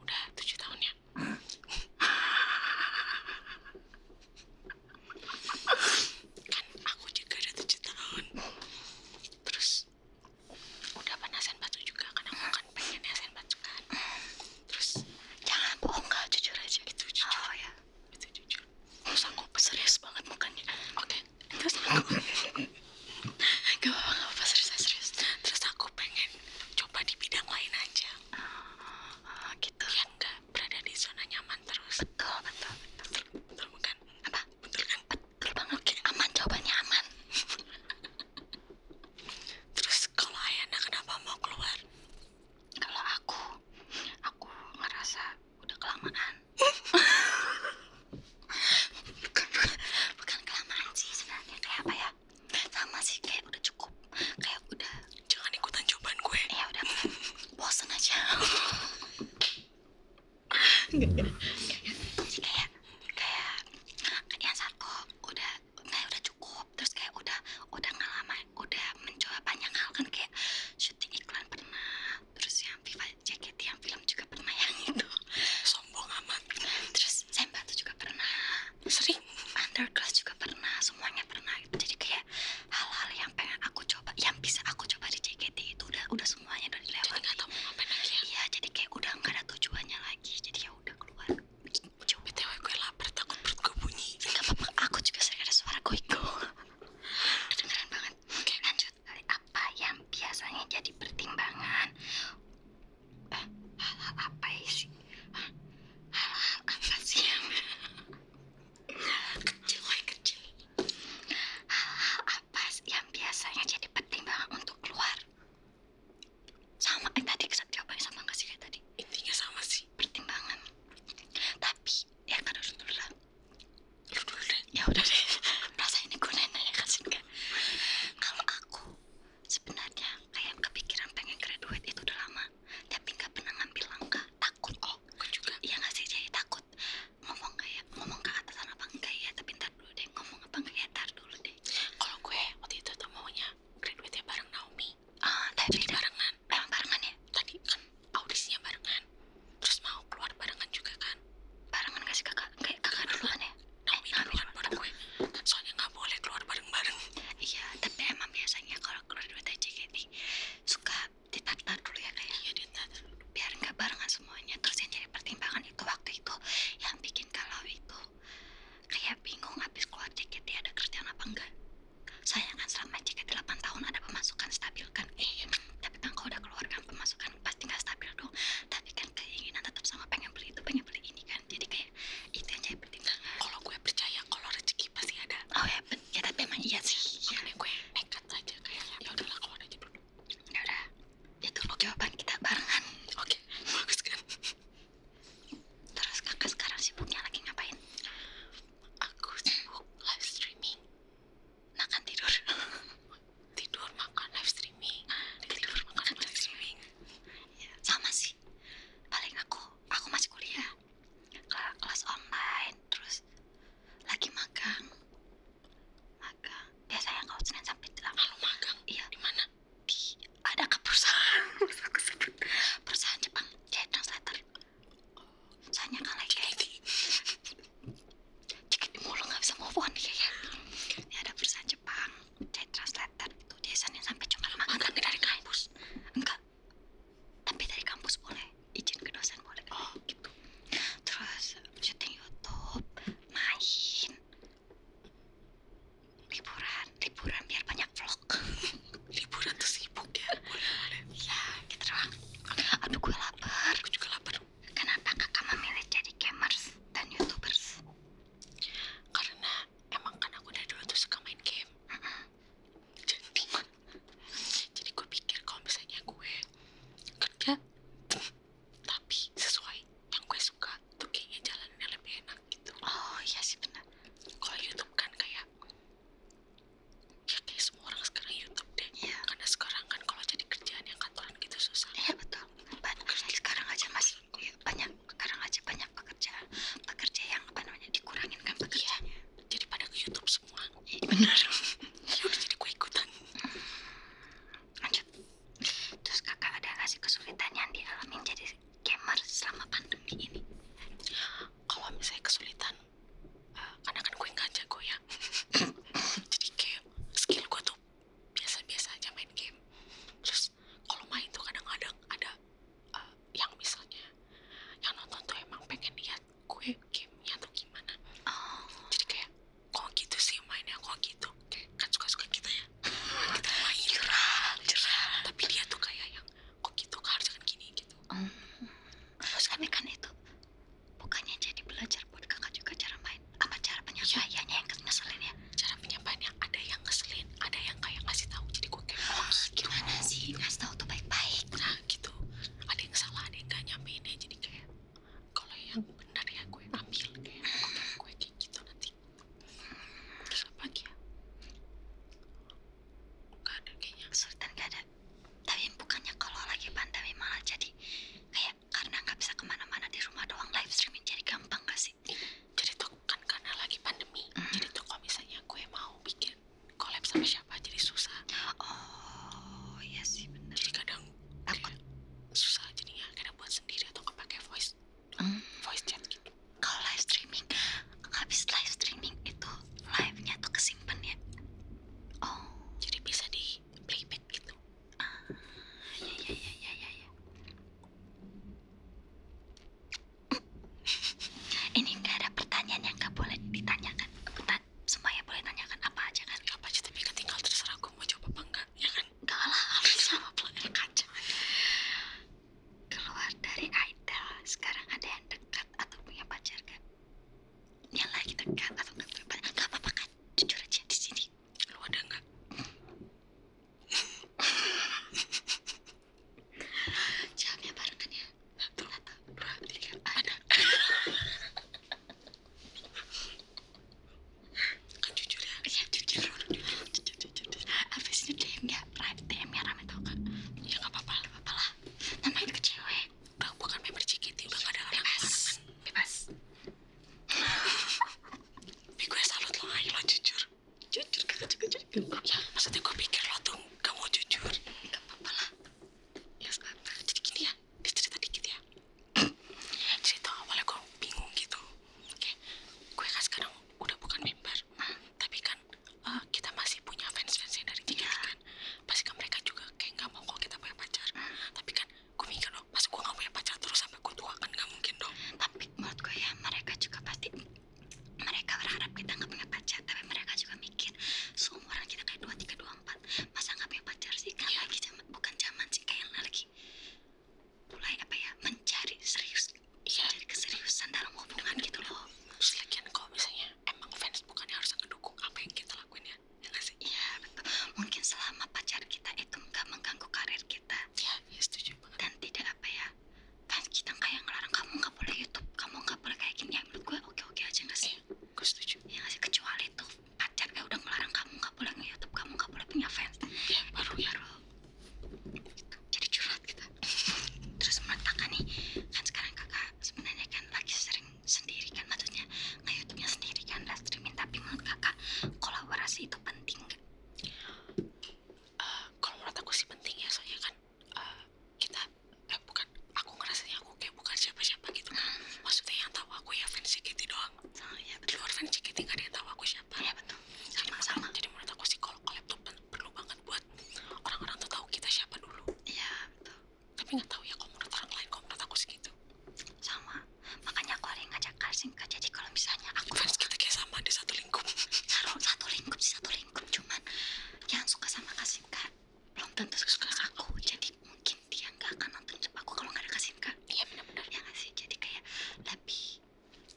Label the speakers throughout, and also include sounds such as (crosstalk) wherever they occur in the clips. Speaker 1: Oh iya? Iya ya, Hmm, Oh, gitu. kan ya? Kan kan, Oh, iya. Iya, kan? (laughs) ya? Iya, jadi kayak Iya, kayak kan yang satu udah kayak udah cukup terus kayak udah udah ngalamin udah mencoba banyak hal kan kayak syuting iklan pernah terus yang Viva JKT yang film juga pernah yang itu sombong amat terus Semba tuh juga pernah sering Underclass juga pernah semuanya pernah gitu. jadi kayak hal-hal yang pengen aku coba yang bisa aku coba di JKT itu udah udah semuanya udah dilewati jadi tahu mau ngapain lagi ya iya jadi kayak udah nggak ada tujuannya lagi jadi ya udah keluar coba btw gue lapar takut perut gue bunyi nggak apa-apa aku juga sering ada suara goiko kedengeran banget oke lanjut apa yang biasanya jadi pertimbangan Eh, hal-hal apa ya sih Hah? hal-hal apa sih yang kecil woy, kecil hal-hal apa sih yang biasanya jadi pertimbangan untuk keluar sama eh tadi kesan jawabannya sama nggak sih kayak tadi intinya sama sih pertimbangan tapi ya kan dulu dulu lah Dulu dulu deh ya udah deh rasa ini gue nanya ya kasih enggak kalau aku sebenarnya kayak kepikiran pengen graduate itu udah lama tapi nggak pernah ngambil langkah takut oh gue juga iya nggak sih jadi takut ngomong kayak ngomong ke atasan apa enggak ya tapi ntar dulu deh ngomong apa enggak ya ntar dulu deh kalau gue waktu itu tuh maunya graduate bareng Naomi ah tapi jadi barengan emang barengan ya tadi kan audisinya barengan terus mau keluar barengan juga kan barengan gak sih kakak kayak kakak duluan ya Naomi duluan bareng gue soalnya nggak boleh keluar bareng-bareng iya tapi emang biasanya kalau keluar dari JKT suka ditata dulu ya kayak iya ditata biar nggak barengan semuanya terus yang jadi pertimbangan itu waktu itu yang bikin kalau itu kayak bingung habis keluar JKT ada kerjaan apa enggak saya kan selama JKT 8 tahun ada pemasukan stabil kan iya tapi kan kalau udah keluar kan pemasukan pasti nggak stabil dong tapi kan keinginan tetap sama pengen beli itu pengen beli ini kan jadi kayak itu yang jadi pertimbangan kalau gue percaya kalau rezeki pasti ada oh ya ben- ya tapi emang iya sih makanya gue nekat aja kayak ya udahlah keluar aja dulu ya udah itu loh jawaban kita barengan oke bagus kan terus kakak sekarang sibuknya lagi ngapain aku sibuk live streaming makan tidur (laughs) tidur makan live streaming tidur makan live streaming ya, sama sih paling aku aku masih kuliah Ke- kelas online terus lagi magang magang biasanya kalau senin sampai jelang lalu magang iya di mana di ada ke perusahaan (laughs) perusahaan Jepang jadi translator soalnya kan lagi Cekit di mulu nggak bisa move on dia ya. Ini ada perusahaan Jepang, jadi translator itu dia Senin sampai Jumat makan tapi dari kampus. Enggak. Tapi dari kampus boleh, izin ke dosen boleh. Oh, gitu. Terus syuting YouTube, main, liburan, liburan biar banyak vlog. (laughs) liburan tuh sibuk ya. Iya, gitu doang. Aduh, gue lapar. Gue juga lapar. Kenapa kakak memilih jadi gamers dan youtubers? karena emang kan aku dari dulu tuh suka main game jadi jadi gue pikir kalau misalnya gue kerja tapi sesuai yang gue suka tuh kayaknya jalannya lebih enak gitu oh iya sih benar kalau YouTube kan kayak ya kayak semua orang sekarang YouTube deh karena sekarang kan kalau jadi kerjaan yang kantoran gitu susah iya betul sekarang aja masih banyak sekarang aja banyak pekerjaan pekerja yang apa namanya dikurangin kan pekerjaannya jadi pada ke YouTube semua iya benar ya udah jadi gue ikutan lanjut terus kakak ada nggak sih kesulitan yang dialami jadi gamer selama pandemi ini kalau misalnya kesulitan eh, karena kan gue nggak jago ya (coughs) jadi kayak skill gue tuh biasa-biasa aja main game terus kalau main tuh kadang-kadang ada eh, yang misalnya yang nonton tuh emang pengen lihat gue gamenya tuh gimana jadi kayak kok gitu sih mainnya kok gitu ya. gitu, kan ya?
Speaker 2: "Oh, gitu, nah, ya. gitu ya? kan
Speaker 1: Oh, iya
Speaker 2: gitu.
Speaker 1: ya. Oh.
Speaker 2: gitu.
Speaker 1: Iya, kan? kan? Kan ya. Ya, kan? ya, ya, gitu Iya, ya, Ya,
Speaker 2: Iya, ya. (coughs) gitu. kan eh, kan. kan, ya?
Speaker 1: Iya Gitu. kan kan,
Speaker 2: eh, gitu. ya,
Speaker 1: ya, Iya, Iya,
Speaker 2: ya gitu.
Speaker 1: nonton terus kelas aku jadi mungkin dia nggak akan nonton sepak aku kalau nggak ada kasinka iya benar-benar ya nggak sih jadi kayak lebih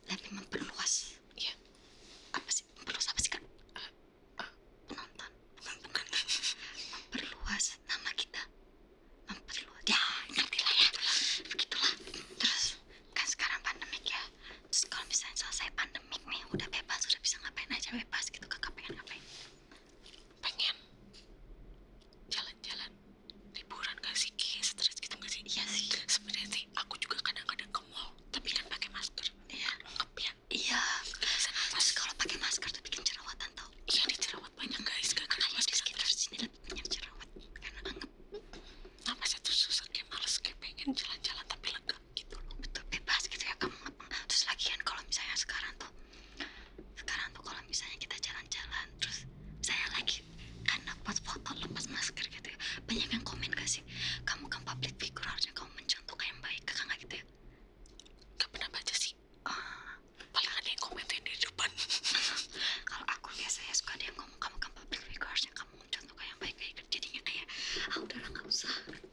Speaker 1: lebih memperluas ya apa sih memperluas apa sih kak eh. penonton bukan bukan (laughs) memperluas nama kita memperluas ya ngerti lah ya begitulah terus kan sekarang pandemik ya terus kalau misalnya selesai pandemik nih udah bebas udah bisa ngapain aja bebas gitu kakak pengen ngapain
Speaker 2: pengen jalan-jalan liburan kan? gak sih kayak stres gitu gak sih
Speaker 1: iya sih
Speaker 2: sebenarnya sih aku juga kadang-kadang ke mall tapi kan pakai masker
Speaker 1: iya
Speaker 2: lengkap ya
Speaker 1: iya
Speaker 2: nggak bisa
Speaker 1: terus
Speaker 2: nafas
Speaker 1: kalau pakai masker tuh bikin jerawatan tau
Speaker 2: iya di jerawat banyak guys gak kena
Speaker 1: makanya Iya, di
Speaker 2: masker
Speaker 1: sekitar sini lebih banyak jerawat karena anggap
Speaker 2: nafasnya tuh susah kayak males kayak pengen jalan-jalan tapi lega gitu loh
Speaker 1: betul bebas gitu ya kamu ngapa nggak? terus lagian kalau misalnya sekarang tuh sekarang tuh kalau misalnya kita jalan-jalan terus saya lagi karena buat foto lepas masker gitu ya banyak yang komen gak sih kamu kan public figure harusnya kamu mencontohkan yang baik kakak nggak gitu ya
Speaker 2: gak pernah baca sih
Speaker 1: Ah,
Speaker 2: paling ada yang komentar di depan (laughs)
Speaker 1: kalau aku biasanya suka ada yang ngomong kamu kan public figure harusnya kamu mencontohkan yang baik kayak gitu." jadinya kayak ah udahlah nggak usah Gitu, Gitu. kan ya, gitu Mm, ya, Eh, Iya. gitu, Ya, ah, Oh, Ya, Ah, ya, Iya. kan ya, Ya gitu. ya? Ah, iya. Eh, Kan ya. gitu, Kan Iya, gitu, kan ya, kan, (laughs) ya? Iya, ya.
Speaker 2: kan Eh, Kan kan (laughs) Iya, (laughs) gitu. ah, kan ya. gitu kan?
Speaker 1: Iya. (laughs) Nah, gitu. ya? Eh, ya, gitu (laughs) Oh, ya? Iya, Oh, Iya, kan gitu. kan kan Iya,
Speaker 2: Ya kan gitu, Kan Eh, Kan kan. Iya, kan ya, gitu uh, kan Ya
Speaker 1: gitu. gitu, eh, ya (laughs)